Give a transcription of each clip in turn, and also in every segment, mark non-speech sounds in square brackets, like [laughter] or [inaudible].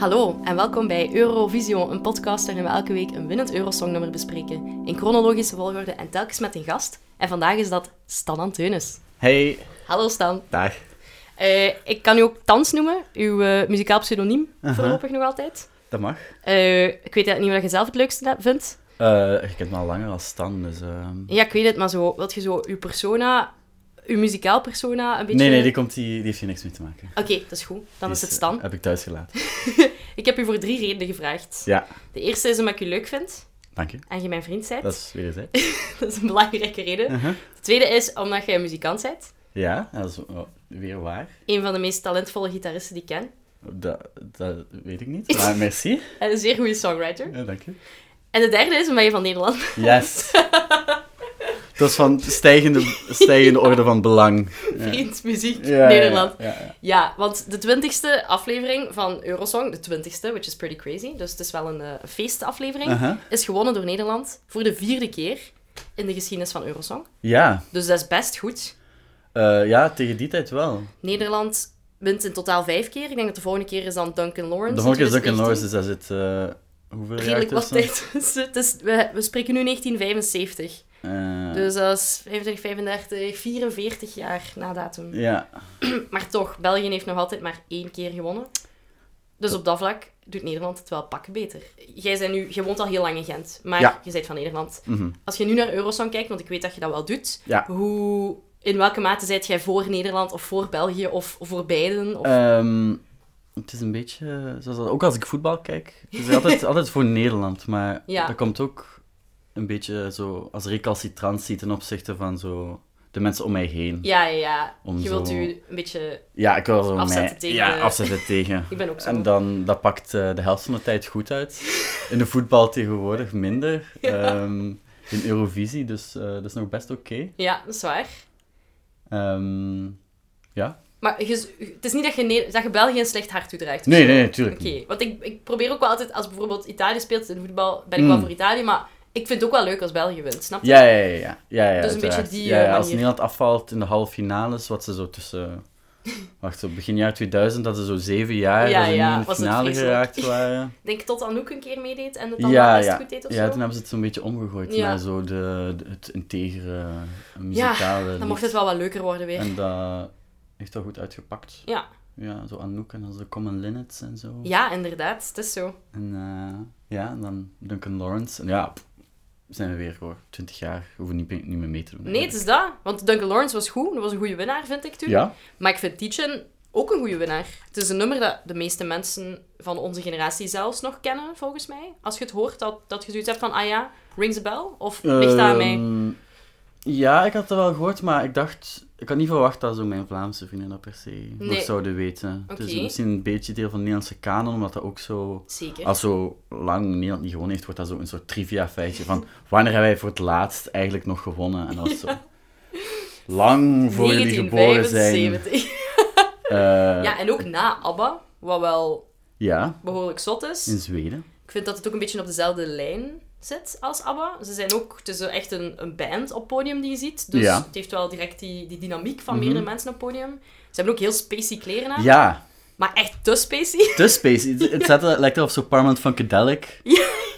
Hallo en welkom bij Eurovisio, een podcast waarin we elke week een winnend Eurosongnummer bespreken. In chronologische volgorde en telkens met een gast. En vandaag is dat Stan Anteunis. Hey, Hallo Stan. dag. Eh, ik kan u ook Tans noemen, uw eh, muzikaal pseudoniem, voorlopig nog altijd. Dat mag. Eh, ik weet eigenlijk niet wat je zelf het leukste hebt- vindt. Eh, je kent me al langer als Stan, dus... ehm, Ja, ik weet het, maar zo, wilt je zo uw persona, uw muzikaal persona een beetje... Nee, nee, die, komt, die, die heeft hier niks mee te maken. Oké, dat is goed. Dan Die is het eh, Stan. Heb ik thuis gelaten. Ik heb u voor drie redenen gevraagd. Ja, De eerste is omdat ik u leuk vind dank je. en je mijn vriend bent. Dat is weer eens, [laughs] hè. [laughs] Dat is een belangrijke reden. Uh-huh. De tweede is omdat jij een muzikant bent. Ja, dat is oh, weer waar. Een van de meest talentvolle gitaristen die ik ken. Dat, dat weet ik niet, maar [laughs] merci. En een zeer goede songwriter. Ja, dank je. En de derde is omdat je van Nederland bent. Yes. Dat is van stijgende, stijgende orde van [laughs] belang. Vriend, muziek, Ja, ja, Nederland. Ja, Ja, ja, ja. want de twintigste aflevering van Eurosong, de twintigste, which is pretty crazy, dus het is wel een eh, feestaflevering, Uh-huh. is gewonnen door Nederland voor de vierde keer in de geschiedenis van Eurosong. Ja, Dus dat is best goed. eh, ja, tegen die tijd wel. Nederland wint in totaal vijf keer. Ik denk dat de volgende keer is dan Duncan Lawrence. De volgende keer is in ook 2019. in Norris, dus daar zit... eh, hoeveel jaar redelijk wat tussen? tijd tussen. Het is, we, we spreken nu 1975. Eh, Dus dat is 25, 35, 44 jaar na datum. Ja, Maar toch, België heeft nog altijd maar één keer gewonnen. Dus op dat vlak doet Nederland het wel pakken beter. Jij bent nu, je woont al heel lang in Gent, maar Ja. je bent van Nederland. Mhm. Als je nu naar Eurosong kijkt, want ik weet dat je dat wel doet, Ja. hoe, in welke mate zijt jij voor Nederland of voor België of voor beiden? Of... Ehm, het is een beetje, eh, zoals, dat- ook als ik voetbal kijk, het [laughs] is altijd, altijd voor Nederland, maar Ja. dat komt ook een beetje zo als recalcitrantie ten opzichte van zo de mensen om mij heen. Ja, Ja, ja, ja. Om Je wilt zo- u een beetje... ik wil zo Afzetten mij, tegen Ja, de- afzetten tegen. [laughs] Ik ben ook zo. En dan, dat pakt eh, de helft van de tijd goed uit. In de voetbal tegenwoordig [laughs] minder. Ehm, in Eurovisie, dus eh, dat is nog best oké. Ja, dat is waar. Ehm, ja. Maar je- het is niet dat je, Ne- dat je België een slecht hart toedraagt. Nee, nee, natuurlijk Oké, want ik, ik probeer ook wel altijd, als bijvoorbeeld Italië speelt in voetbal, ben ik wel Mm. voor Italië, maar ik vind het ook wel leuk als België wint, snap je? Ja, ja, ja. ja, ja, ja Dus een uiteraard. beetje die, Ja, ja, eh, als manier. Nederland afvalt in de halve finales, wat ze [laughs] zo tussen... Wacht, op begin jaar 2000, dat ze zo zeven jaar Ja, dat ze ja, niet in de was het finale vreselijk. geraakt [laughs] waren. Ik denk tot Anouk een keer meedeed en het dan wel Ja, best ja. goed deed of ja, zo. toen hebben ze het zo'n beetje omgegooid Ja. naar zo de, de- het integere eh, muzikale dan lied. mocht het wel wat leuker worden weer. En dat heeft dat goed uitgepakt. Ja. Ja, zo Anouk en dan zo Common Linnets en zo. ja, inderdaad, het is zo. En eh, ja, en dan Duncan Lawrence. En ja, pff, zijn we weer hoor. 20 jaar, hoeven niet, niet meer mee te doen. Nee, het is dat. Want Duncan Lawrence was goed, dat was een goede winnaar, vind ik toen. Ja, Maar ik vind Teachin ook een goede winnaar. Het is een nummer dat de meeste mensen van onze generatie zelfs nog kennen, volgens mij. Als je het hoort, dat, dat je zoiets hebt van, ah ja, rings a bell? Of ligt dat aan mij? Ehm, Ja, ik had het wel gehoord, maar ik dacht... Ik had niet verwacht dat zo mijn Vlaamse vrienden dat per se nog Nee. zouden weten. Oké. Het is misschien een beetje deel van de Nederlandse kanon, omdat dat ook zo... Zeker. Als zo lang Nederland niet gewonnen heeft, wordt dat zo een soort trivia-feitje van... Wanneer hebben wij voor het laatst eigenlijk nog gewonnen? En [laughs] dat is zo... Lang voor jullie geboren zijn. 1975. Eh, Ja, en ook na ABBA, wat wel ja, behoorlijk zot is. in Zweden. Ik vind dat het ook een beetje op dezelfde lijn zit als ABBA. Ze zijn ook, het is echt een, een band op podium die je ziet. Dus Ja. Mhm. het heeft wel direct die, die dynamiek van meerdere mensen op podium. Ze hebben ook heel spacey kleren aan. Ja, Maar echt te spacey. te space. Het, het staat er- lijkt erop zo Parliament Funkadelic.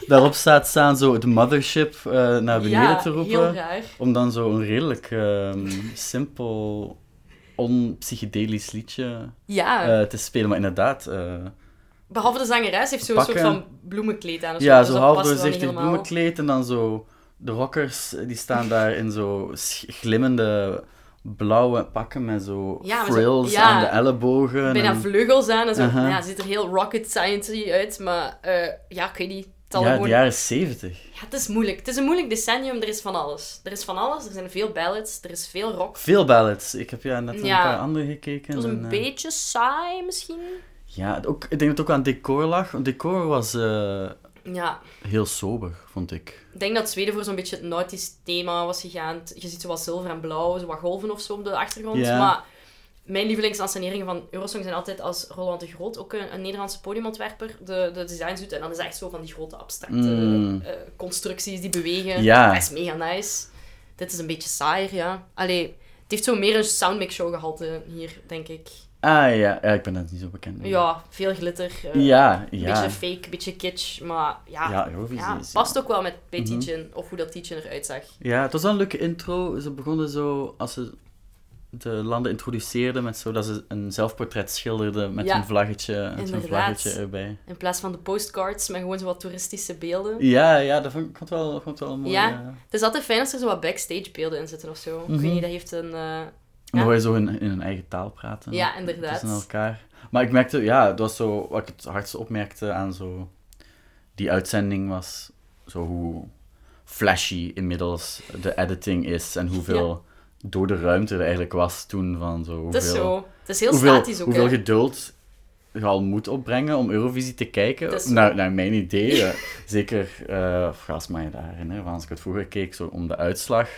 Daarop staat staan zo het mothership eh, naar beneden ja, te roepen. heel raar. Om dan zo'n redelijk ehm, simpel, onpsychedelisch liedje Ja, eh, te spelen. Maar inderdaad, eh, behalve de zangeres heeft zo'n soort pakken. van bloemenkleed aan. of ja, dus zo dat half past wel doorzichtig niet helemaal. bloemenkleed en dan zo de rockers, eh, die staan daar in zo sch- glimmende blauwe pakken met zo Ja, maar zo- frills ja. aan de ellebogen. bijna en- vleugels aan en zo. Aha. Ja, ziet er heel rocket science uit, maar eh, ja, ik weet niet. Het, zal ja, gewoon... de jaren zeventig. ja, het is moeilijk. Het is een moeilijk decennium, er is van alles. Er is van alles, er zijn veel ballads, er is veel rock. Veel ballads. Ik heb ja net Ja. een paar andere Het gekeken. was een en, eh, beetje saai misschien. Ja, het ook, ik denk dat het ook aan decor lag. Want decor was eh, Ja, heel sober, vond ik. ik denk dat Zweden voor zo'n beetje het nautisch thema was gegaan. Het- Je ziet zo wat zilver en blauw, zo wat golven of zo op de achtergrond. Ja. Maar mijn lievelingsansaneringen van Eurosong zijn altijd als Roland de Groot, ook een, een Nederlandse podiumontwerper, de, de designs doet. En dan is dat echt zo van die grote abstracte Mm. eh, constructies die bewegen. Ja. Dat is mega nice. Dit is een beetje saaier, ja. Allee, het heeft zo meer een soundmix show gehalte hier, denk ik. Ah ja, ja ik ben net niet zo bekend. mee. Ja, veel glitter. eh, Mm. ja, Een ja. beetje fake, een beetje kitsch, maar ja. Ja, Eurovisie ja, is, Mhm. ja. past ook wel met bij Tietjen, of hoe dat Tietjen eruit zag. Ja, het was wel een leuke intro. Ze begonnen zo, als ze de landen introduceerden, met zo dat ze een zelfportret schilderden met Ja, hun vlaggetje, met hun inderdaad. vlaggetje erbij. In plaats van de postcards met gewoon zo wat toeristische beelden. Ja, ja, dat vond ik, vond het wel, vond het wel eh, mooi. Ja. Ja. Het is altijd fijn als er zo wat backstage beelden in zitten of zo. Ik Mhm. weet niet, dat heeft een... eh, Dan Ja. hoor je zo in, in hun eigen taal praten. Ja, inderdaad. Tussen elkaar. Maar ik merkte, ja, dat was zo wat ik het hardst opmerkte aan zo die uitzending was zo hoe flashy inmiddels de editing is en hoeveel door de ruimte er eigenlijk was toen van zo hoeveel, het is zo. Het is heel hoeveel, statisch ook, hoeveel hè. geduld je al moet opbrengen om Eurovisie te kijken. Dat is zo. Naar, naar mijn idee. eh, [laughs] Zeker, eh als mij daar herinneren, want als ik het vroeger keek, zo om de uitslag.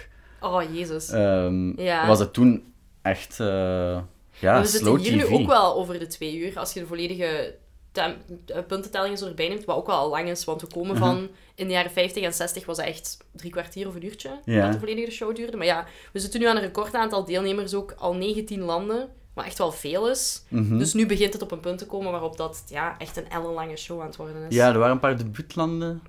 Oh, jezus. Ehm, Ja. was het toen echt eh ja, we zitten slow hier TV. nu ook wel over de twee uur. Als je de volledige tem- eh, puntentelling eens erbij neemt, wat ook wel al lang is. Want we komen Mhm. van... In de jaren 50 en 60 was dat echt drie kwartier of een uurtje. Ja. Dat de volledige show duurde. Maar ja, we zitten nu aan een record aantal deelnemers ook. Al 19 landen. Wat echt wel veel is. Mhm. Dus nu begint het op een punt te komen waarop dat ja, echt een ellenlange show aan het worden is. Ja, er waren een paar debuutlanden.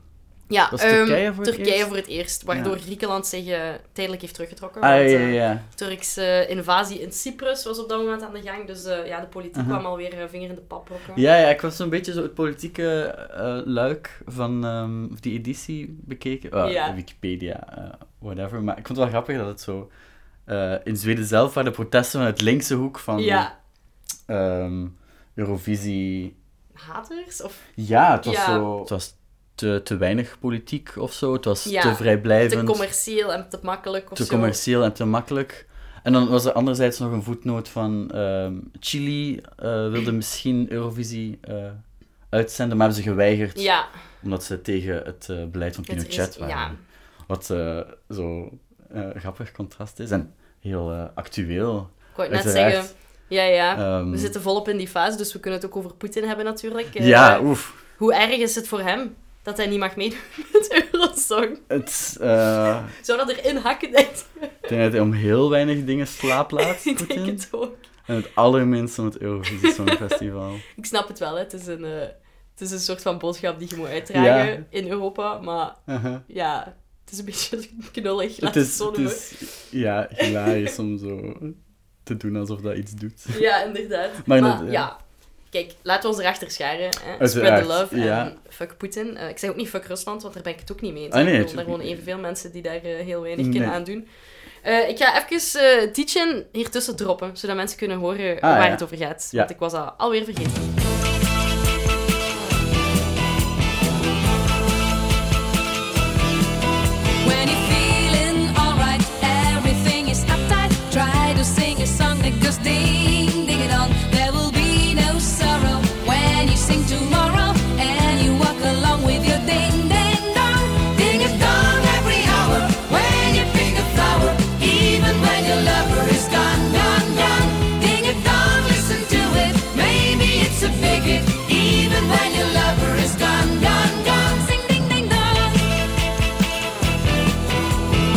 Ja, Was ehm, Turkije voor het Turkije eerst? voor het eerst, waardoor Griekenland zich eh, tijdelijk heeft teruggetrokken. Ah, ja, want, ja, eh, ja. Turkse eh, invasie in Cyprus was op dat moment aan de gang. Dus eh, ja, de politiek kwam alweer eh, vinger in de pap rokken. Mhm. Ja, ja, ik was zo'n beetje zo het politieke eh, luik van ehm, die editie bekeken. Eh, Ja. Wikipedia, eh, whatever. Maar ik vond het wel grappig dat het zo... eh, in Zweden zelf waren de protesten van het linkse hoek van Ja, ehm, Eurovisie... haters? Of Ja, het was Ja. zo... Het was te, te weinig politiek of zo. Het was Ja, te te vrijblijvend. commercieel en te makkelijk of te zo. commercieel en te makkelijk. En dan was er anderzijds nog een voetnoot van ehm, Chili eh, wilde misschien Eurovisie eh, uitzenden, maar hebben ze geweigerd Ja, omdat ze tegen het eh, beleid van het is- Pinochet waren. ja. Wat eh, zo eh, grappig contrast is en heel eh, actueel. Ik wou het net Uiteraard. zeggen. Ja, ja. Ehm, We zitten volop in die fase, dus we kunnen het ook over Poetin hebben natuurlijk. Eh, Ja, oef. Hoe erg is het voor hem dat hij niet mag meedoen [laughs] met Eurosong? Het, eh, Zou dat erin hakken, [laughs] denk ik? ik denk dat hij om heel weinig dingen slaap [laughs] laat, Ik denk Poetin. het ook. En het allerminst om het Eurovisie Songfestival. [laughs] Ik snap het wel, hè. Het, is een, eh, het is een soort van boodschap die je moet uitdragen Ja. in Europa. Maar Aha. ja, het is een [laughs] beetje knullig. Laat [laughs] Het het, is, zo het noemen. is ja, hilarisch om zo te doen alsof dat iets doet. Ja, inderdaad. [laughs] Maar Maar, inderdaad, ja. ja. Kijk, laten we ons erachter scharen. Hè. Spread Uiteraard, the love ja. en fuck Poetin. Eh, ik zeg ook niet fuck Rusland, want daar ben ik het ook niet mee eens. Ah, nee, er natuurlijk wonen niet. evenveel mensen die daar eh, heel weinig Nee. kunnen aandoen. Eh, ik ga even eh Tietjen hiertussen droppen, zodat mensen kunnen horen Ah, waar ja. het over gaat. Ja. Want ik was al, alweer vergeten. When you're feeling alright, everything is uptight. Try to sing a song that goes ding, ding it on. There will be no sorrow when you sing tomorrow and you walk along with your ding, ding dong, ding a dong every hour. When you pick a flower, even when your lover is gone, gone, gone, ding a dong. Listen to it, maybe it's a big hit. Even when your lover is gone, gone, gone, sing ding, ding dong.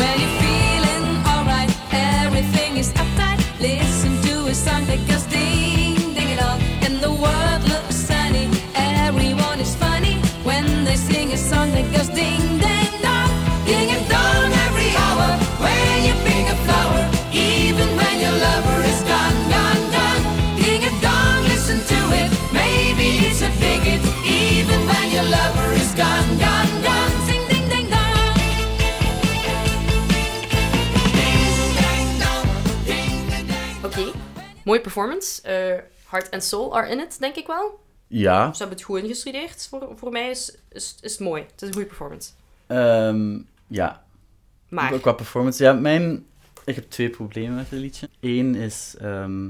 When you're feeling alright, everything is uptight. Listen to a song that goes ding, ding it all. And the world looks sunny, everyone is funny. When they sing a song that goes ding, ding, dong, ding and dong every hour. When you pick a flower, even when your lover is gone, gone, gone. Ding and dong, listen to it. Maybe it's a bigot, even when your lover is gone, gone, gone. Sing ding, ding, dong. Oké, mooie performance. Eh, heart and soul are in it, denk ik wel. Ja, Ze hebben het goed ingestudeerd. Voor, voor mij is, is, is het mooi. Het is een goede performance. ehm, ja. Maar, Qua performance. Ja, mijn... Ik heb twee problemen met het liedje. Eén is ehm,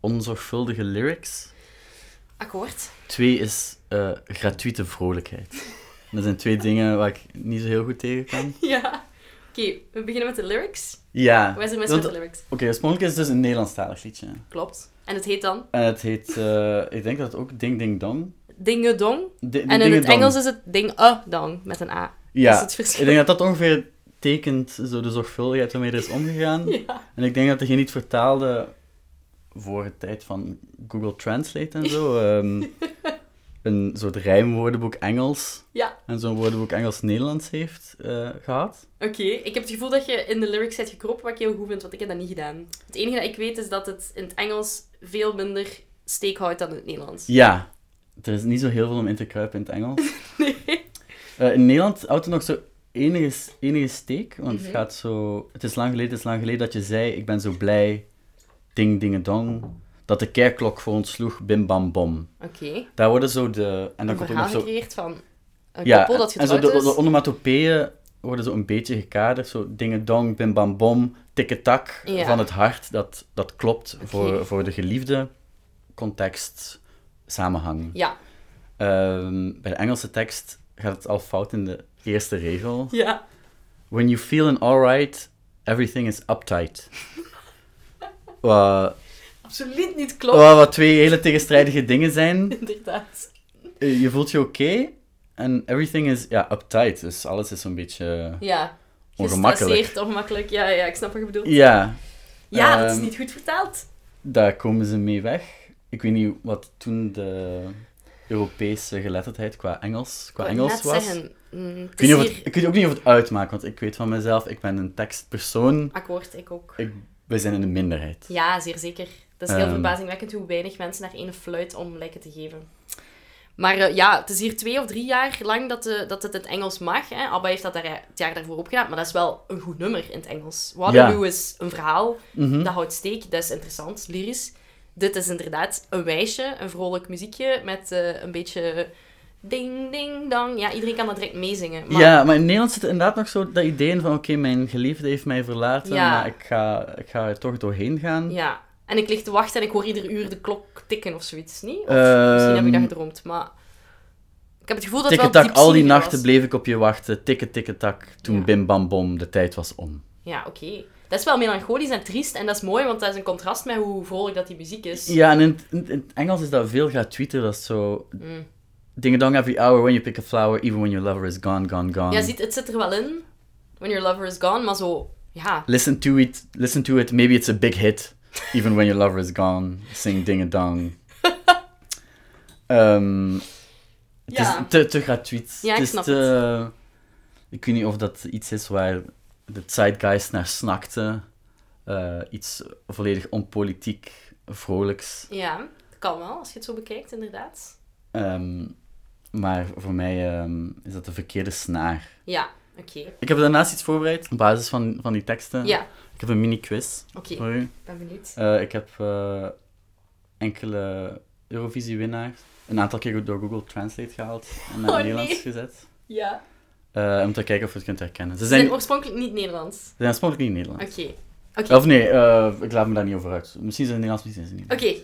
onzorgvuldige lyrics. akkoord. [laughs] Twee is eh, gratuite vrolijkheid. Dat zijn twee dingen waar ik niet zo heel goed tegen kan. Ja. Oké, we beginnen met de lyrics. Ja. Wij zijn mis want- met de lyrics. Oké, oorspronkelijk is het dus een Nederlandstalig liedje. Klopt. En het heet dan En het heet... eh, ik denk dat het ook Ding Ding Dong... dingedong. Di- En in Ding het Dong. Engels is het ding-a-dong met een A. Ja, Dat is het verschil. ik denk dat dat ongeveer tekent zo de zorgvuldigheid waarmee er is omgegaan. Ja. En ik denk dat degene die het vertaalde voor de tijd van Google Translate en zo, ehm, een soort rijmwoordenboek Engels Ja, en zo'n woordenboek Engels-Nederlands heeft eh, gehad. oké. Ik heb het gevoel dat je in de lyrics hebt gekropen, wat ik heel goed vind, want ik heb dat niet gedaan. Het enige dat ik weet is dat het in het Engels veel minder steek houdt dan in het Nederlands. Ja, er is niet zo heel veel om in te kruipen in het Engels. [laughs] Eh, in Nederland houdt het nog zo enige, enige steek, want Mhm. het gaat zo... Het is lang geleden, het is lang geleden dat je zei, ik ben zo blij, ding ding dong, dat de kerkklok voor ons sloeg, bim bam bom. Oké. Daar worden zo de... En Een dan komt ook nog verhaal zo... gecreëerd van een Ja, koppel dat en zo getrouwd de, is. de onomatopeeën worden zo een beetje gekaderd, zo dingen dong, bim bam bom, tikketak Ja. van het hart, dat, dat klopt voor, Oké. voor de geliefde context, samenhang. Ja. Ehm, bij de Engelse tekst gaat het al fout in de eerste regel. Ja. When you feeling alright, everything is uptight. [laughs] Wat- Absoluut niet klopt, wat- wat twee hele tegenstrijdige dingen zijn. inderdaad. Eh, Je voelt je oké en everything is ja, uptight. Dus alles is zo'n beetje. Ja. Ongemakkelijk. Gestresseerd, ongemakkelijk. Ja, ja, ik snap wat je bedoelt. Ja, Ja, dat is Ehm, niet goed vertaald. daar komen ze mee weg. Ik weet niet wat toen de Europese geletterdheid qua Engels, qua Wat Engels net was. Zeggen. Mm, het Ik weet, is niet of hier- het, ik weet ook niet of het uitmaakt, want ik weet van mezelf, ik ben een tekstpersoon. Akkoord, ik ook. Ik, wij zijn in de minderheid. Ja, zeer zeker. Dat is heel Ehm. verbazingwekkend hoe weinig mensen naar één fluit om lijken te geven. Maar eh, ja, het is hier twee of drie jaar lang dat, de, dat het in het Engels mag. Hè. ABBA heeft dat daar, het jaar daarvoor opgedaan, maar dat is wel een goed nummer in het Engels. Waterloo is een verhaal, Mhm. dat houdt steek, dat is interessant, lyrisch. Dit is inderdaad een wijsje, een vrolijk muziekje met eh, een beetje ding, ding, dang. Ja, iedereen kan dat direct meezingen. Maar Ja, maar in Nederland zit inderdaad nog zo dat idee van, oké, mijn geliefde heeft mij verlaten, Ja. maar ik ga, ik ga er toch doorheen gaan. Ja. En ik lig te wachten en ik hoor ieder uur de klok tikken of zoiets, niet? Of Ehm, misschien heb ik dat gedroomd, maar... Ik heb het gevoel dat het wel Tikketak, al die diepzinniger nachten was. bleef ik op je wachten, tikke tikke tak, toen Ja. bim bam bom, de tijd was om. Ja, oké. Dat is wel melancholisch en triest en dat is mooi, want dat is een contrast met hoe vrolijk dat die muziek is. Ja, en in, het- in, in het Engels is dat veel gratuiter, dat is zo... Mm. Ding dong every hour when you pick a flower, even when your lover is gone, gone, gone. Ja, ziet, het zit er wel in. When your lover is gone, maar zo... Ja. Listen to it, listen to it, maybe it's a big hit. Even when your lover is gone, sing ding a dong. Ehm, het Ja. is te, te gratuit. Ja, ik het is snap te- Ik weet niet of dat iets is waar de zeitgeist naar snakte. Eh, iets volledig onpolitiek, vrolijks. Ja, dat kan wel, als je het zo bekijkt, inderdaad. Ehm, maar voor mij ehm, is dat de verkeerde snaar. Ja, oké. Ik heb daarnaast iets voorbereid op basis van, van die teksten. Ja, Ik heb een mini-quiz oké. voor u. Ik ben benieuwd. Eh, ik heb eh, enkele Eurovisie-winnaars een aantal keer door Google Translate gehaald en naar Oh, het Nederlands nee. gezet. Ja. Eh, om te kijken of je het kunt herkennen. Ze Ze zijn, zijn ze oorspronkelijk niet Nederlands. zijn oorspronkelijk niet Nederlands. Oké. Oké. Of nee, eh, ik laat me daar niet over uit. Misschien zijn ze Nederlands, misschien zijn ze niet. Oké.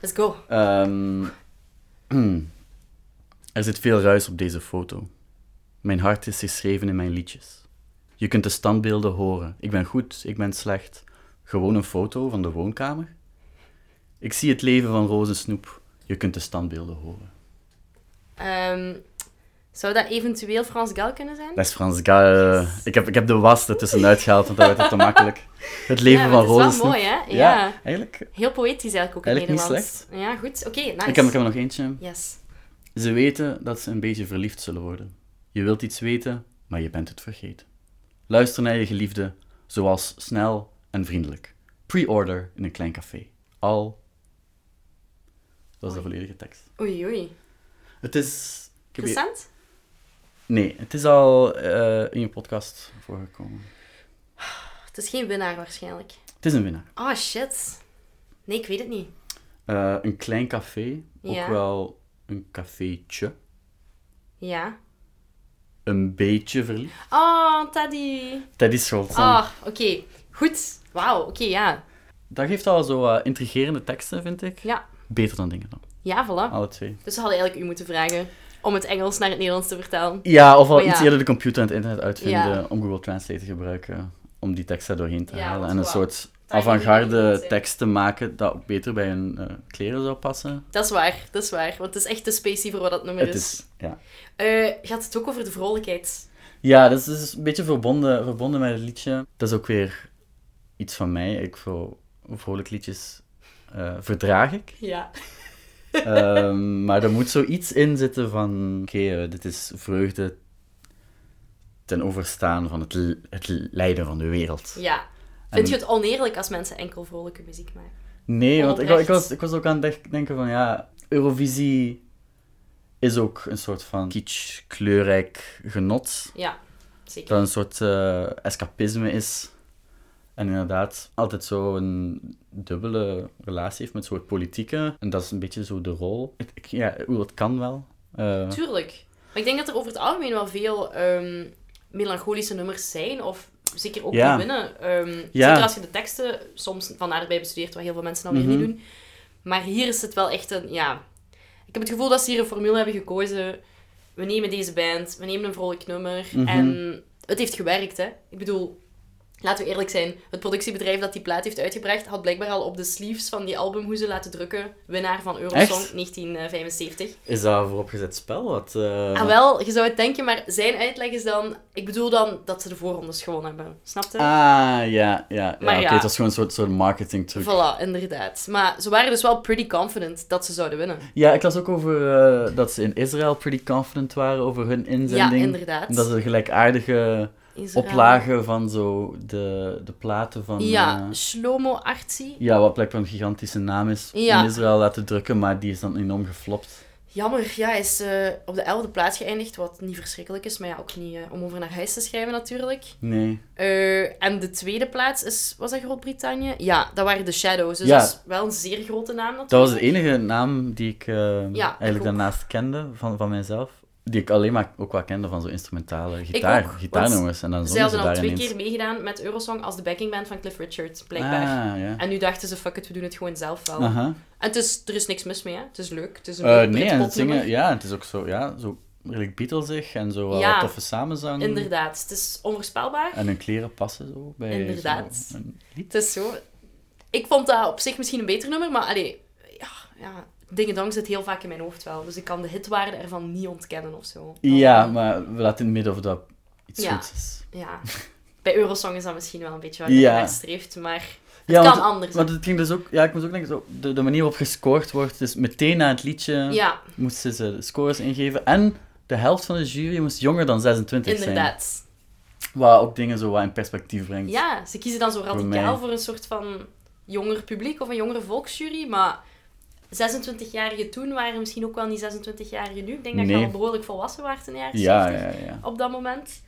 Let's go. Ehm, [clears throat] hmm. er zit veel ruis op deze foto. Mijn hart is geschreven in mijn liedjes. Je kunt de standbeelden horen. Ik ben goed, ik ben slecht. Gewoon een foto van de woonkamer. Ik zie het leven van rozensnoep. Je kunt de standbeelden horen. Ehm, zou dat eventueel Frans Gal kunnen zijn? Dat is Frans Gaal. Ik heb, ik heb de was er tussenuit gehaald, want dat werd het te makkelijk. Het leven ja, maar van het is wel rozensnoep. mooi, hè? Ja. eigenlijk. Heel poëtisch eigenlijk ook in Eigenlijk niet Nederlands. Ja, goed. Oké, nice. Ik heb, ik heb er nog eentje. Yes. Ze weten dat ze een beetje verliefd zullen worden. Je wilt iets weten, maar je bent het vergeten. Luister naar je geliefde, zoals snel en vriendelijk. Pre-order in een klein café. Al. Dat is de volledige tekst. Oei, oei. Het is. ik heb hier- Recent? Nee, het is al eh, in je podcast voorgekomen. Het is geen winnaar waarschijnlijk. Het is een winnaar. Oh, shit. Nee, ik weet het niet. Eh, een klein café, ook Ja. wel een cafeetje. Ja. Een beetje verliefd. Oh, Teddy. Teddy Scholz. Ah, oké. Goed. Wauw, oké, ja. Dat geeft al zo eh, intrigerende teksten, vind ik. Ja. Beter dan dingen dan. Ja, voilà. Alle twee. Dus we hadden eigenlijk u moeten vragen om het Engels naar het Nederlands te vertalen. Ja, of al Maar ja. iets eerder de computer en het internet uitvinden Ja. om Google Translate te gebruiken om die tekst er doorheen te Ja, halen. want En een wat- soort kan je niet goed avant-garde zijn. tekst te maken dat ook beter bij hun eh, kleren zou passen. Dat is waar, dat is waar. Want het is echt te spacey voor wat dat nummer Het is. is, ja. Eh, gaat het ook over de vrolijkheid? ja, dus het is een beetje verbonden, verbonden met het liedje. Dat is ook weer iets van mij. Ik voor vrolijk liedjes eh, verdraag [laughs] ik. Ja. Ehm, maar er moet zoiets in zitten van... Oké, eh, dit is vreugde ten overstaan van het, l- het lijden van de wereld. ja. Vind je het oneerlijk als mensen enkel vrolijke muziek maken? Nee, want ik, wa- ik, Oprecht. was, ik was ook aan het dek- denken van ja, Eurovisie is ook een soort van kitsch, kleurrijk genot. Ja, zeker. Dat een soort eh, escapisme is. En inderdaad altijd zo'n dubbele relatie heeft met een soort politieke. En dat is een beetje zo de rol. Ik, ik- ja, hoe dat kan wel. Eh, Tuurlijk. Maar ik denk dat er over het algemeen wel veel ehm, melancholische nummers zijn. Of zeker ook Ja. die winnen. Ehm, Ja. Zeker als je de teksten soms van naderbij bestudeert, wat heel veel mensen alweer Mhm. niet doen. Maar hier is het wel echt een... Ja, ik heb het gevoel dat ze hier een formule hebben gekozen. We nemen deze band, we nemen een vrolijk nummer. Mhm. En het heeft gewerkt, hè. Ik bedoel... Laten we eerlijk zijn, het productiebedrijf dat die plaat heeft uitgebracht, had blijkbaar al op de sleeves van die albumhoezen laten drukken. Winnaar van Eurosong eh, Echt? 1975. is dat een vooropgezet spel? Wat, eh, Ah, wel, je zou het denken, maar zijn uitleg is dan... Ik bedoel dan dat ze de voorrondes gewonnen hebben. Snap je? Ah, ja, ja. ja Oké, Maar ja. het was gewoon een soort, soort marketing truc. Voilà, inderdaad. Maar ze waren dus wel pretty confident dat ze zouden winnen. Ja, ik las ook over eh, dat ze in Israël pretty confident waren over hun Ja, inzending. inderdaad. Dat ze gelijkaardige Israël. oplagen van zo de, de platen van... Ja, eh, Shlomo Artsi. ja, wat blijkbaar een gigantische naam is, Ja. in Israël laten drukken, maar die is dan enorm geflopt. Jammer, ja, hij is eh, op de elfde plaats geëindigd, wat niet verschrikkelijk is, maar ja, ook niet eh, om over naar huis te schrijven natuurlijk. Nee. Eh, en de tweede plaats is, was dat Groot-Brittannië? Ja, dat waren de Shadows, dus Ja. dat is wel een zeer grote naam natuurlijk. Dat was de enige naam die ik eh, eigenlijk ook. daarnaast kende van, van mijzelf. Die ik alleen maar ook wel kende van zo'n instrumentale gitaar, ook, want gitaarnummers. En dan Ze zongen ze hadden al daar twee ineens. keer meegedaan met Eurosong als de backingband van Cliff Richard, blijkbaar. Ah, ja. En nu dachten ze, fuck it, we doen het gewoon zelf wel. Aha. En het is, er is niks mis mee, hè. Het is leuk. Het is een Eh, leuk nee, en het Britpopnummer. zingen, ja, het is ook zo, ja, zo redelijk Beatlesig en zo wel Ja. wat toffe samenzang. Inderdaad. Het is onvoorspelbaar. En hun kleren passen zo bij Inderdaad. zo een lied. Het is zo... Ik vond dat op zich misschien een beter nummer, maar allee... Ja, ja Ding Dong zit heel vaak in mijn hoofd wel. Dus ik kan de hitwaarde ervan niet ontkennen of zo. Ja, maar we laten in het midden of dat iets Oh. Ja. goeds is. Ja. Bij Eurosong is dat misschien wel een beetje waar je Ja. naar streeft, maar... Het kan anders, hè. Want het ging dus ook, ja, ik moest ook denken, zo, de, de manier waarop gescoord wordt, dus meteen na het liedje Ja, moesten ze de scores ingeven. En de helft van de jury moest jonger dan 26 zijn. inderdaad. Wat ook dingen zo wat in perspectief brengt. Ja, ze kiezen dan zo radicaal mij. voor, een soort van jonger publiek of een jongere volksjury, maar 26-jarigen toen waren misschien ook wel niet 26-jarigen nu. Ik denk dat je Nee. al behoorlijk volwassen waard in de jaren ja, 70 ja. ja. op dat moment.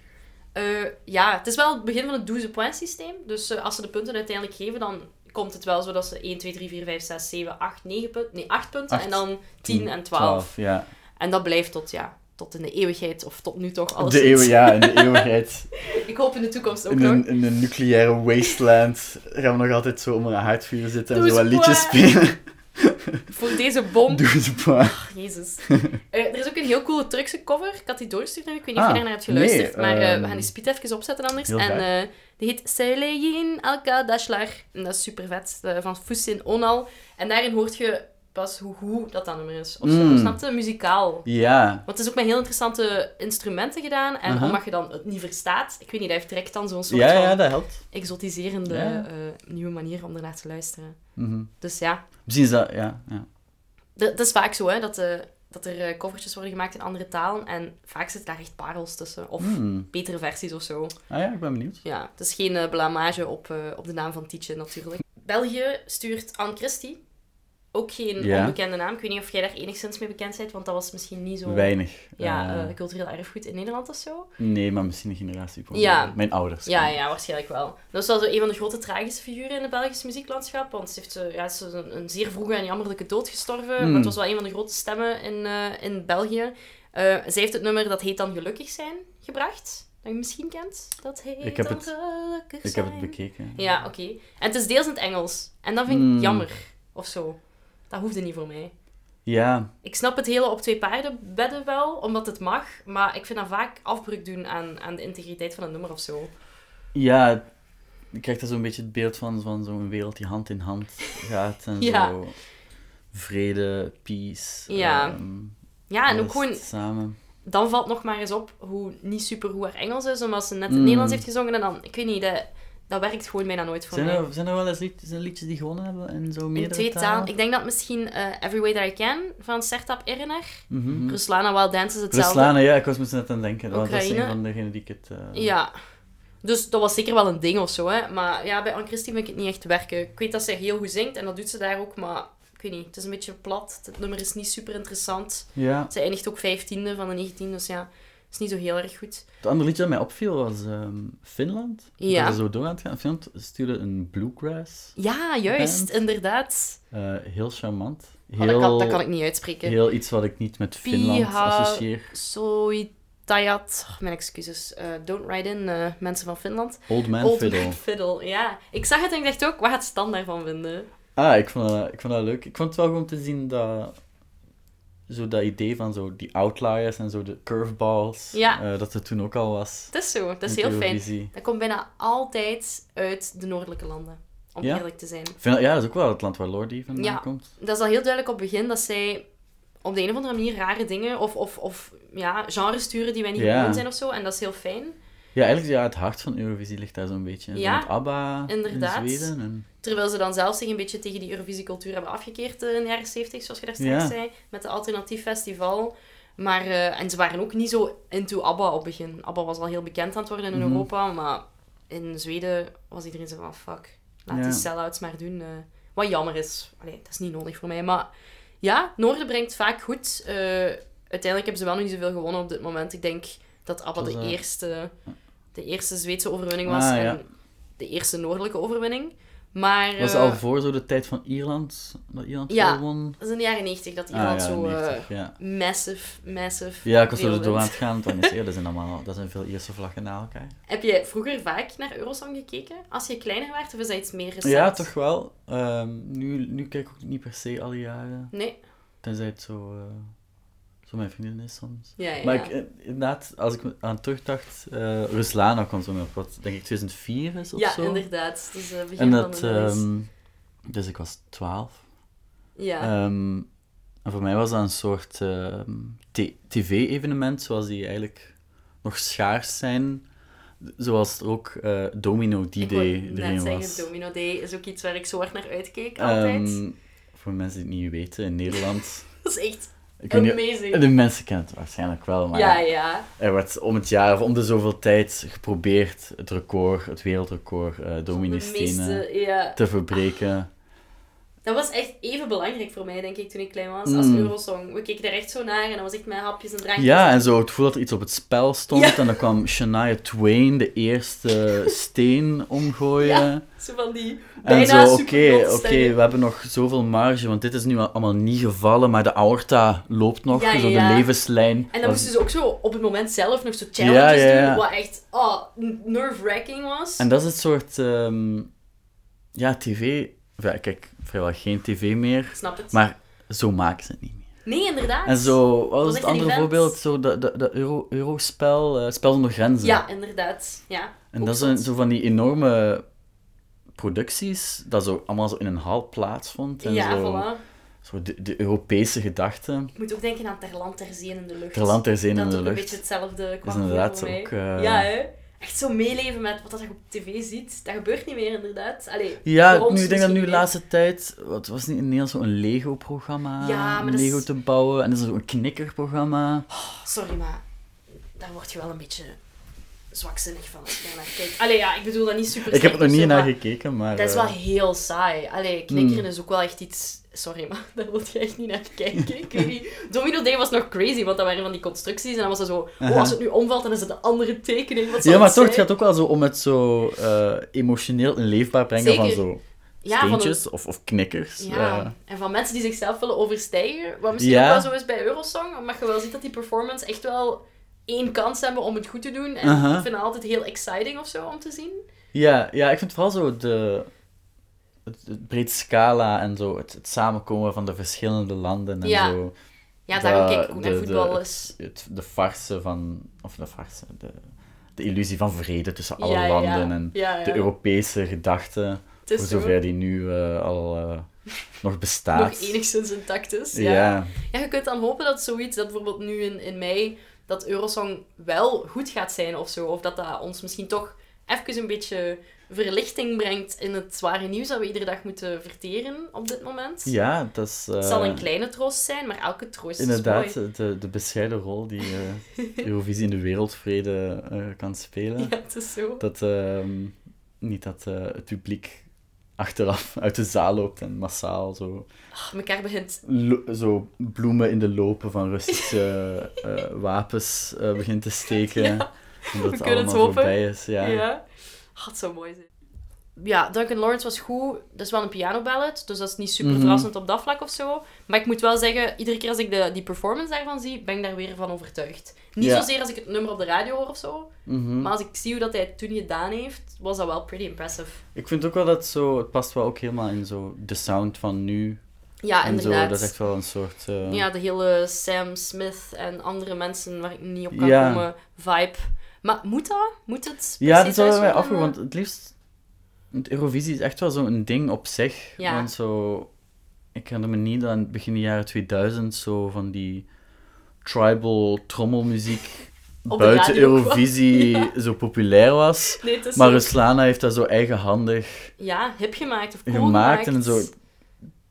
Eh, ja, het is wel het begin van het 12 point systeem. Dus eh, als ze de punten uiteindelijk geven, dan komt het wel zo dat ze 1, 2, 3, 4, 5, 6, 7, 8, 9 punten. Nee, 8 punten Acht, en dan 10 en 12. ja. En dat blijft tot, ja, tot in de eeuwigheid of tot nu toch alles. De eeuw, ja, in de [laughs] eeuwigheid. Ik hoop in de toekomst ook In nog. een, in een nucleaire wasteland gaan we nog altijd zo onder een haardvuur zitten en Doe zo wat eens liedjes boy. [laughs] spelen. Voor deze bom Doe het maar. [laughs] Jezus. Eh, er is ook een heel coole Turkse cover. Ik had die doorgestuurd en ik weet niet of Ah, je daarnaar hebt geluisterd. nee, maar eh, ehm, we gaan die speed even opzetten anders. heel En graag. eh, die heet Seleyin Alka Dashlar. En dat is super vet. van Fusin Onal. En daarin hoort je pas hoe goed dat dat nummer is. Of zo, Mm. snap je? Muzikaal. Ja. Want het is ook met heel interessante instrumenten gedaan. En Aha. omdat je dan het niet verstaat, ik weet niet, dat heeft direct dan zo'n soort Ja, van ja, dat helpt. exotiserende Ja. eh, nieuwe manier om ernaar te luisteren. Mhm. Dus ja, Misschien is dat, ja. ja. Dat, dat is vaak zo, hè, dat, eh, dat er eh, covertjes worden gemaakt in andere talen. En vaak zitten daar echt parels tussen. Of Hmm. betere versies of zo. Ah ja, ik ben benieuwd. Ja, het is geen eh, blamage op, eh, op de naam van Tietje natuurlijk. België stuurt Anne Christie. Ook geen Ja. onbekende naam. Ik weet niet of jij daar enigszins mee bekend bent, want dat was misschien niet zo... Weinig. Ja, Eh, eh, cultureel erfgoed in Nederland of zo. Nee, maar misschien een generatieprobleem. Ja. Mijn ouders. Ja, ja, waarschijnlijk wel. Dat is wel zo een van de grote tragische figuren in het Belgisch muzieklandschap. Want ze, heeft, eh, ja, ze is een, een zeer vroege en jammerlijke dood gestorven. Hmm. Maar het was wel een van de grote stemmen in, eh, in België. Eh, zij heeft het nummer dat heet dan Gelukkig Zijn gebracht. Dat je misschien kent. Dat heet Ik heb dan het- Gelukkig Ik heb het Zijn. bekeken. Ja, oké. En het is deels in het Engels. En dat vind ik Hmm. jammer. Of zo. Dat hoefde niet voor mij. Ja, Ik snap het hele op twee paarden bedden wel, omdat het mag. Maar ik vind dat vaak afbreuk doen aan, aan de integriteit van het nummer of zo. ja. Je krijgt daar zo'n beetje het beeld van, van zo'n wereld die hand in hand gaat. En [laughs] Ja. zo. Vrede, peace. Ja. ehm, Ja, en ook alles gewoon Samen. dan valt nog maar eens op hoe niet super hoe haar Engels is, omdat ze net in Mm. Nederlands heeft gezongen en dan, ik weet niet, de, Dat werkt gewoon bijna nooit voor Zijn mij. er, zijn er wel eens lied- zijn er liedjes die gewonnen hebben in zo In meerdere twee talen. Ik denk dat misschien eh, Every Way That I Can van Sertab Erener. Mhm. Ruslana Wild Dance is hetzelfde. Hmm. Ruslana, ja, ik was me net aan het denken. Want dat is een Oekraïne. van degenen die ik het... eh, Ja. Dus dat was zeker wel een ding of zo, hè. Maar ja, bij Anne-Christine vind ik het niet echt werken. Ik weet dat ze heel goed zingt en dat doet ze daar ook, maar ik weet niet. Het is een beetje plat. Het nummer is niet super interessant. ja. Ze eindigt ook vijftiende van de 19, dus ja, het is niet zo heel erg goed. Het andere liedje dat mij opviel was ehm, Finland. Ja. Dat is zo door aan het gaan. Finland stuurde een bluegrass. Ja, juist, Band. inderdaad. Eh, heel charmant. Heel, Maar Oh, dat, kan, dat kan ik niet uitspreken. heel iets wat ik niet met Finland Piha- associeer. Soitayat, oh, mijn excuses, Eh, Don't Ride In, eh, mensen van Finland. Old Man Old Fiddle. Man Fiddle, ja. Ik zag het en ik dacht ook, waar gaat Stan daarvan vinden? Ah, ik vond, dat, ik vond dat leuk. Ik vond het wel gewoon te zien dat... Zo dat idee van zo die outliers en zo de curveballs. Ja. eh, dat het toen ook al was. Het is zo, dat is in heel fijn. Eurovisie. Dat komt bijna altijd uit de noordelijke landen, om Ja? eerlijk te zijn. Finland, ja, dat is ook wel het land waar Lordi vandaan Ja. komt. Dat is al heel duidelijk op het begin dat zij op de een of andere manier rare dingen of, of, of ja, genres sturen die wij niet Ja. gewoon zijn of zo. En dat is heel fijn. Ja, eigenlijk ja, het hart van Eurovisie ligt daar zo'n beetje. in. Ja, Met ABBA inderdaad. in Zweden. En... Terwijl ze dan zelf zich een beetje tegen die Eurovisie-cultuur hebben afgekeerd eh, in de jaren 70, zoals je daar straks Ja. zei, met de Alternatief Festival. Maar, eh, en ze waren ook niet zo into ABBA op het begin. ABBA was al heel bekend aan het worden in Mhm. Europa, maar in Zweden was iedereen zo van, fuck, laat Ja. die sell-outs maar doen. eh. wat jammer is. Allee, dat is niet nodig voor mij, maar ja, Noorden brengt vaak goed. Eh, uiteindelijk hebben ze wel nog niet zoveel gewonnen op dit moment. Ik denk dat ABBA Dat de is, eh, eerste, de eerste Zweedse overwinning was Ah, en ja. de eerste noordelijke overwinning. Maar Was eh, het al voor zo de tijd van Ierland? Dat Ierland Ja. veel won? dat is in de jaren 90 dat Ah, Ierland ja, zo eh, 90, ja. massive, massive Ja, ik was veel zo er door aan wint. het gaan. want ja, dat zijn allemaal dat zijn veel Ierse vlaggen na elkaar. Heb je vroeger vaak naar Eurosong gekeken? Als je kleiner werd of is dat iets meer recent? Ja, toch wel. Ehm, nu, nu kijk ik ook niet per se alle jaren. Nee? Tenzij het zo, eh, zo mijn vriendin is soms. Ja, ja. Maar ja. ik, eh, inderdaad, als ik me aan terugdacht, eh Ruslana kwam zo op, wat denk ik 2004 is of ja, zo. inderdaad. Het is eh, begin En dat, van de reis. ehm, dus ik was 12. Ja. Ehm, en voor mij was dat een soort ehm, t- tv-evenement, zoals die eigenlijk nog schaars zijn. Zoals er ook eh, Domino ik D-Day wou net erin zeggen, was. Domino Day is ook iets waar ik zo hard naar uitkeek, altijd. [laughs] Ehm, voor mensen die het niet weten, in Nederland... Dat is echt Ik weet niet- amazing. de mensen kennen het waarschijnlijk wel, maar Ja, ja. er werd om het jaar of om de zoveel tijd geprobeerd het record, het wereldrecord, eh De Domino-stenen meeste, ja. te verbreken. Dat was echt even belangrijk voor mij, denk ik, toen ik klein was, als Mm. Eurosong. We keken daar echt zo naar en dat was echt mijn hapjes en drankjes. Ja, en zo het gevoel dat er iets op het spel stond. Ja. En dan kwam Shania Twain de [laughs] eerste steen omgooien. Ja, Zo van die en bijna zo, oké, superplot oké, stemmen. we hebben nog zoveel marge, want dit is nu al- allemaal niet gevallen, maar de aorta loopt nog, Ja, ja, zo ja. de levenslijn. En dan was- moesten ze ook zo op het moment zelf nog zo challenges Ja, ja, ja. doen, wat echt oh, nerve-wracking was. En dat is het soort, ehm, ja, tv, enfin, ik kijk vrijwel geen tv meer, Ik Snap het? maar zo maken ze het niet meer. Nee, inderdaad. En zo, wat was was echt het een andere event. voorbeeld? Zo dat, dat, dat euro, eurospel, eh, Spel zonder grenzen. Ja, inderdaad. Ja. En Ook dat zot. zijn zo van die enorme producties, dat zo allemaal zo in een hal plaatsvond. En Ja, zo, voilà. zo de, de Europese gedachte. Je moet ook denken aan Ter land, ter zee en in de lucht. Ter land, ter zee en in Dat de ook een beetje lucht. hetzelfde qua Is inderdaad gevoel voor ook, mij. eh, Ja, hè? Echt zo meeleven met wat dat je op tv ziet. Dat gebeurt niet meer, inderdaad. Allee, voor Ja, ons nu, ik denk dat misschien nu de niet. laatste tijd, wat was het niet in Nederland zo'n Lego-programma? Ja, maar om dat is- Oh, Lego te bouwen. En er is zo'n knikkerprogramma. Sorry, maar daar word je wel een beetje zwakzinnig van als je daarnaar kijkt. Allee, ja, ik bedoel dat niet super Ik heb er nog slecht niet of zo, naar maar gekeken, Hmm. maar... Dat is wel eh, heel saai. Allee, knikkeren is ook wel echt iets... Sorry, maar [laughs] daar wil je echt niet naar kijken. Ik weet niet. Domino Day was nog crazy, want dat waren van die constructies. En dan was dat zo... Oh, Aha. als het nu omvalt, dan is het een andere tekening. Wat zal Ja, maar het toch, het zijn? gaat ook wel zo om het zo eh, emotioneel en leefbaar brengen van Zeker. zo Ja, van een- steentjes of, of knikkers. Ja, eh. en van mensen die zichzelf willen overstijgen. Wat misschien Ja. ook wel zo is bij Eurosong. Maar je wel ziet dat die performance echt wel één kans hebben om het goed te doen. En Aha. ik vind het altijd heel exciting of zo om te zien. Ja, ja, ik vind vooral zo de, het, het breed scala en zo, het, het samenkomen van de verschillende landen en Ja, zo. Ja, daarom Dat- kijk ik ook naar de- voetbal de- eens. Het, de farse van, of de farse, de, de illusie van vrede tussen alle Ja, ja, ja. landen en Ja, ja. de Europese gedachte, Het is voor zo. zover die nu eh, al eh, nog nog bestaat. enigszins intact is. Ja. ja. Ja. je kunt dan hopen dat zoiets, dat bijvoorbeeld nu in, in mei, dat Eurosong wel goed gaat zijn of zo. Of dat dat ons misschien toch even een beetje verlichting brengt in het zware nieuws dat we iedere dag moeten verteren op dit moment. Ja, dat is... Het zal eh, een kleine troost zijn, maar elke troost is Inderdaad, mooi. [laughs] de, de bescheiden rol die eh, Eurovisie in de wereldvrede eh, kan spelen. [laughs] Ja, het is zo. Dat ehm, niet dat eh, het publiek achteraf uit de zaal loopt en massaal zo, Ah, mekaar begint... lo- zo bloemen in de lopen [laughs] van Russische eh, wapens eh, begint te steken. Ja, omdat we kunnen het het allemaal hopen. voorbij is. Ja. Ja. Ah, het zou mooi zijn. Ja, Duncan Lawrence was goed. Dat is wel een pianoballet, dus dat is niet super Mhm. verrassend op dat vlak of zo. Maar ik moet wel zeggen, iedere keer als ik de, die performance daarvan zie, ben ik daar weer van overtuigd. Niet Ja. zozeer als ik het nummer op de radio hoor of zo, Mhm. maar als ik zie hoe dat hij het toen gedaan heeft, was dat wel pretty impressive. Ik vind ook wel dat zo, het past wel ook helemaal in zo de sound van nu. Ja, en zo, Ah, inderdaad. dat is echt wel een soort... eh, Ja, de hele Sam Smith en andere mensen waar ik niet op kan Ja. komen vibe. Maar moet dat? Moet het? Ja, dat precies is wel mij uitzonderen? afgevraagd, want het liefst... Het Eurovisie is echt wel zo'n ding op zich. Ja. Want zo... Ik herinner me niet dat in het begin jaren 2000 zo van die tribal trommelmuziek Op de buiten radio kwam. [laughs] Eurovisie zo populair was. Nee, het is Maar zo- Ruslana heeft dat zo eigenhandig Ja, hip gemaakt of cool gemaakt. gemaakt. En zo...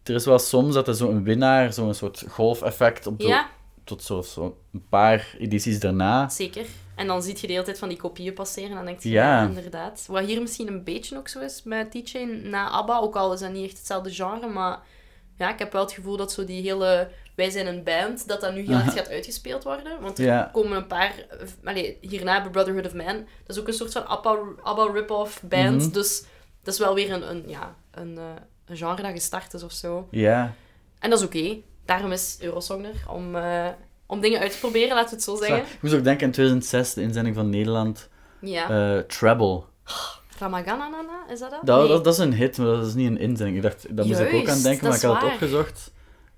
Er is wel soms dat er zo'n winnaar, zo'n soort golfeffect, op de- Ja, tot zo, zo een paar edities daarna. zeker. En dan zie je de hele tijd van die kopieën passeren en dan denk je, Ja. ja, inderdaad. Wat hier misschien een beetje ook zo is met TJ na ABBA, ook al is dat niet echt hetzelfde genre, maar ja, ik heb wel het gevoel dat zo die hele wij zijn een band, dat dat nu heel erg gaat uitgespeeld worden. Want er Ja. komen een paar... eh, Allee, hierna hebben we Brotherhood of Man. Dat is ook een soort van ABBA, ABBA rip-off band. Mhm. Dus dat is wel weer een, een, ja, een, eh, een genre dat gestart is of zo. Ja. En dat is oké. Daarom is Eurosong er, om, eh, om dingen uit te proberen, laten we het zo zeggen. Ik moest ook denken aan 2006, de inzending van Nederland. Ja. eh Treble. Ramagananana, is dat dat? Dat, Nee. dat, dat is een hit, maar dat is niet een inzending. Ik dacht, daar moest ik ook aan Juist, dat denken, maar is ik had het waar. opgezocht.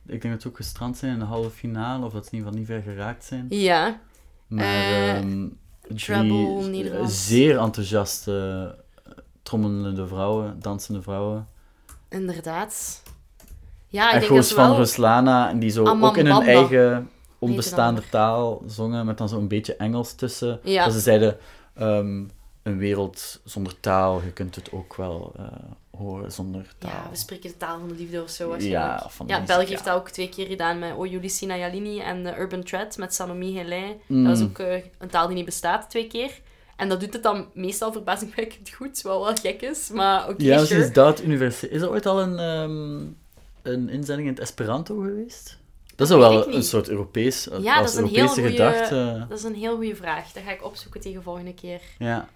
Ik denk dat ze ook gestrand zijn in de halve finale, of dat ze in ieder geval niet ver geraakt zijn. Ja. Maar Eh, ehm, drie Treble, Nederland. zeer enthousiaste eh, trommelende vrouwen, dansende vrouwen. Inderdaad. Ja, Ah, ik denk dat Echo's ze van wel... Ruslana, en die zo ook in hun Amambamba. eigen onbestaande taal zongen, met dan zo'n beetje Engels tussen. Ja. Dat ze zeiden, ehm, een wereld zonder taal, je kunt het ook wel eh, horen zonder taal. Ja, we spreken de taal van de liefde of zo waarschijnlijk. Ja, van Ja, muziek, België ja. heeft dat ook twee keer gedaan met O Julisina Jalini en eh, Urban Thread met Sanomi Helin. Mm. Dat was ook eh, een taal die niet bestaat, twee keer. En dat doet het dan meestal verbazingwekkend goed, wat wel gek is, maar oké, Ja, sure. precies, dat universiteit. Is er ooit al een, ehm, een inzending in het Esperanto geweest? Dat is weet wel ik een niet. soort Europees, ja, als dat is een heel Europese goeie- gedachte. Dat is een heel goede vraag. Dat ga ik opzoeken tegen volgende keer. Ja.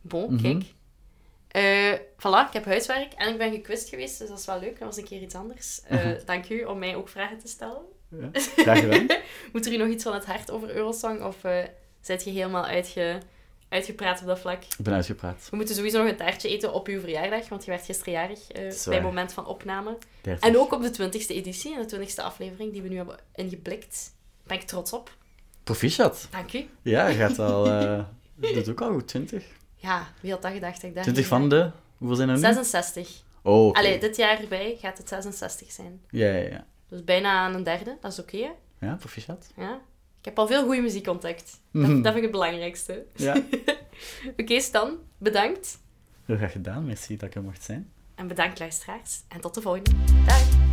Bon, Mhm. kijk. Eh, voilà, ik heb huiswerk en ik ben gekwist geweest, dus dat is wel leuk. Dat was een keer iets anders. Eh, Mhm. dank u om mij ook vragen te stellen. ja. Graag gedaan. [laughs] Moet er u nog iets van het hart over Eurosong of eh zit je helemaal uitge... uitgepraat op dat vlak? Ik ben uitgepraat. We moeten sowieso nog een taartje eten op uw verjaardag, want je werd gisteren jarig eh, is bij waar. het moment van opname. 30. En ook op de 20e editie en de 20e aflevering die we nu hebben ingeblikt. Daar ben ik trots op. Proficiat. Dank u. Ja, je gaat al... eh je doet ook al goed, 20. Ja, wie had dat gedacht? dat Ik daar 20 niet van aan- de... Hoeveel zijn er nu? 66. Oh, oké. Allee, dit jaar erbij gaat het 66 zijn. Ja, ja, ja. Dus bijna een derde, dat is oké. hè? Ja, proficiat. ja. Ik heb al veel goede muziek ontdekt. Dat, Mhm. dat vind ik het belangrijkste. Ja. [laughs] Oké, Stan, bedankt. Heel graag gedaan. Merci dat ik er mocht zijn. En bedankt luisteraars. En tot de volgende. Dag.